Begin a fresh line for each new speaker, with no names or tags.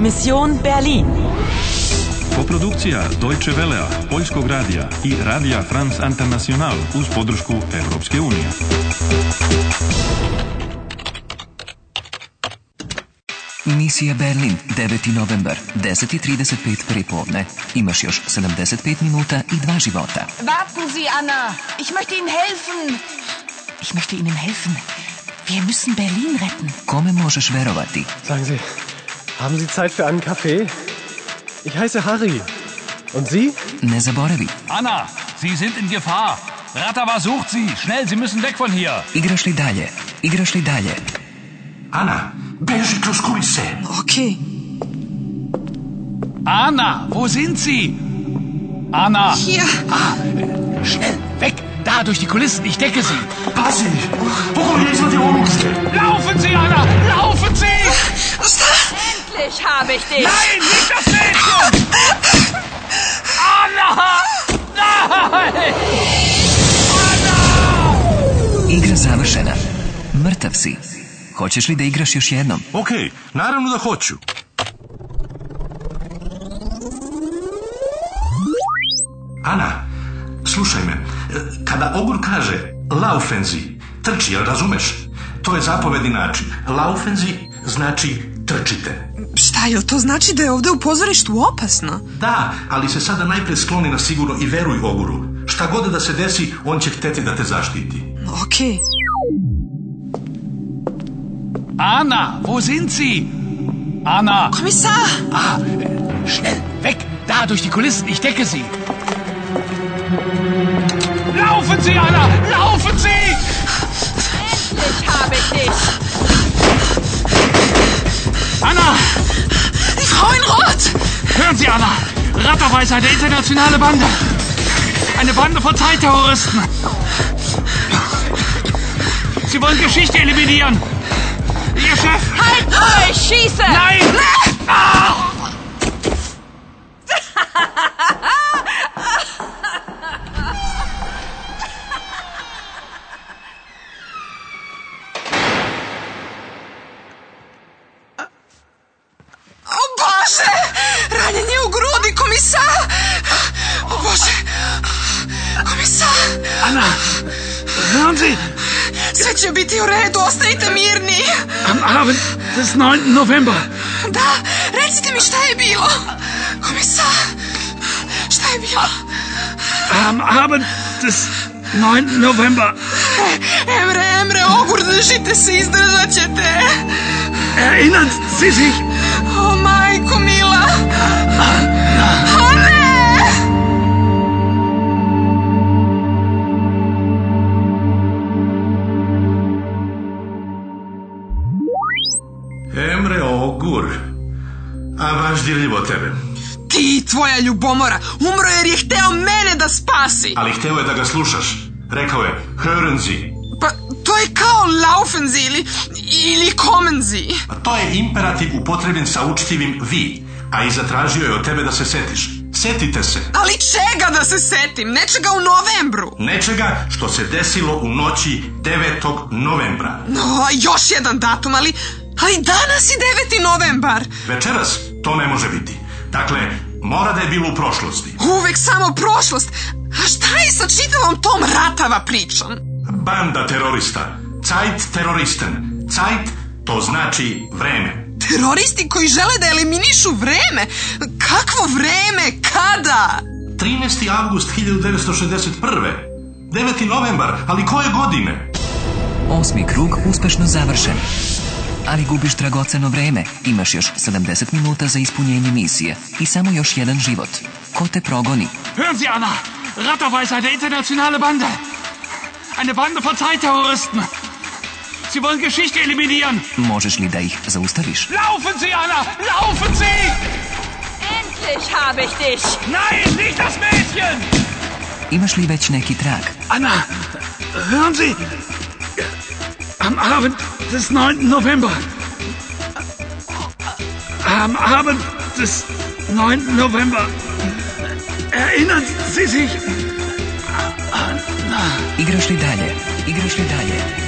Mission Berlin.
Koprodukcija Deutsche Velea, Poljskog radija i Radija France International uz podršku Europske unije.
Misija Berlin, 9. novembar, 10.35 prepodne. Imaš još 75 minuta i dva života.
Warten Sie, Anna. Ich möchte Ihnen helfen.
Ich möchte Ihnen helfen. Wir müssen Berlin retten.
Kome možeš verovati?
Sagen Sie, haben Sie Zeit für einen Kaffee? Ich heiße Harry. Und Sie?
Ne zaboravi,
Anna, Sie sind in Gefahr. Ratava sucht Sie. Schnell, Sie müssen weg von hier.
igraš li dalje? Igraš li dalje?
Anna, běží kroz kulise.
Okay.
Anna, wo sind Sie? Anna,
Hier.
schnell, weg. Da, durch die Kulissen. Ich decke Sie.
Pasi, pohodlně jsou ty omůžky.
Laufen Sie, Anna. Laufen Sie.
Endlich habe ich dich.
Nein, nicht das Mädchen. Anna. Nein.
Igra završena. Mrtav si. Hoćeš li da igraš još jednom?
OK, naravno da hoću. Ana, slušaj me. E, Kada Ogur kaže laufenzi, trči, jel razumeš? To je zapovedni način. Laufenzi znači trčite.
Šta, jel to znači da je ovdje u pozorištu opasno?
Da, ali se sada najprije skloni na sigurno i veruj Oguru. Šta god da se desi, on će hteti da te zaštiti.
Okej.
Anna, wo sind Sie? Anna,
Kommissar!
schnell, weg. Da, durch die Kulissen. Ich decke Sie. Laufen Sie, Anna. Laufen Sie.
Endlich habe ich dich.
Anna,
Frauenrot!
Hören Sie, Anna! Rattava ist eine internationale Bande. Eine Bande von Zeitterroristen. Sie wollen Geschichte eliminieren. Ihr Chef.
Halt euch, schieße.
Nein! Ah!
O Bože! Ranjen je u grudi, komisar! O Bože! Komisar!
Anna, hören Sie,
Sve će biti u redu, ostanite mirni!
am Abend des 9. November
Da, recite mi šta je bilo! Komisar! Šta je bilo?
am Abend des 9. November
Emre, Emre, ogur, držite se, izdržat ćete!
erinnern Sie sich
O majko mila! O ne!
Emre Ogur, a baš dirljivo tebe.
Ti i tvoja ljubomora umro jer je hteo mene da spasi.
Ali hteo je da ga slušaš. Rekao je, hören Sie.
Pa to je kao Laufenzi ili, ili Komenzi.
A pa to je imperativ upotrebljen sa učtivim vi, a i zatražio je od tebe da se setiš. Setite se.
Ali čega da se setim? Nečega u novembru.
Nečega što se desilo u noći 9. novembra.
No, još jedan datum, ali... Ali danas je 9. novembar.
Večeras to ne može biti. Dakle, mora da je bilo u prošlosti.
Uvek samo prošlost. A šta je sa čitavom tom ratava pričom?
Banda terorista. Zeit teroristen. Zeit to znači vreme.
Teroristi koji žele da eliminišu vreme? Kakvo vreme? Kada?
13. avgust 1961. 9. novembar, ali koje godine?
Osmi krug uspešno završen. Ali gubiš dragoceno vreme, imaš još 70 minuta za ispunjenje misije i samo još jedan život. Ko te progoni?
Hören Sie, Anna! Rattava ist eine internationale Bande. Eine Bande von Zeitterroristen. Sie wollen Geschichte eliminieren.
Možeš li da ih zaustaviš?
Laufen Sie, Anna! Laufen Sie!
Endlich habe ich dich.
Nein, nicht das Mädchen!
Imaš li već neki trag?
Anna, hören Sie! Am Abend des 9. November. Am Abend des 9. November. Erinnern Sie sich
Igraš li dalje? Igraš li dalje?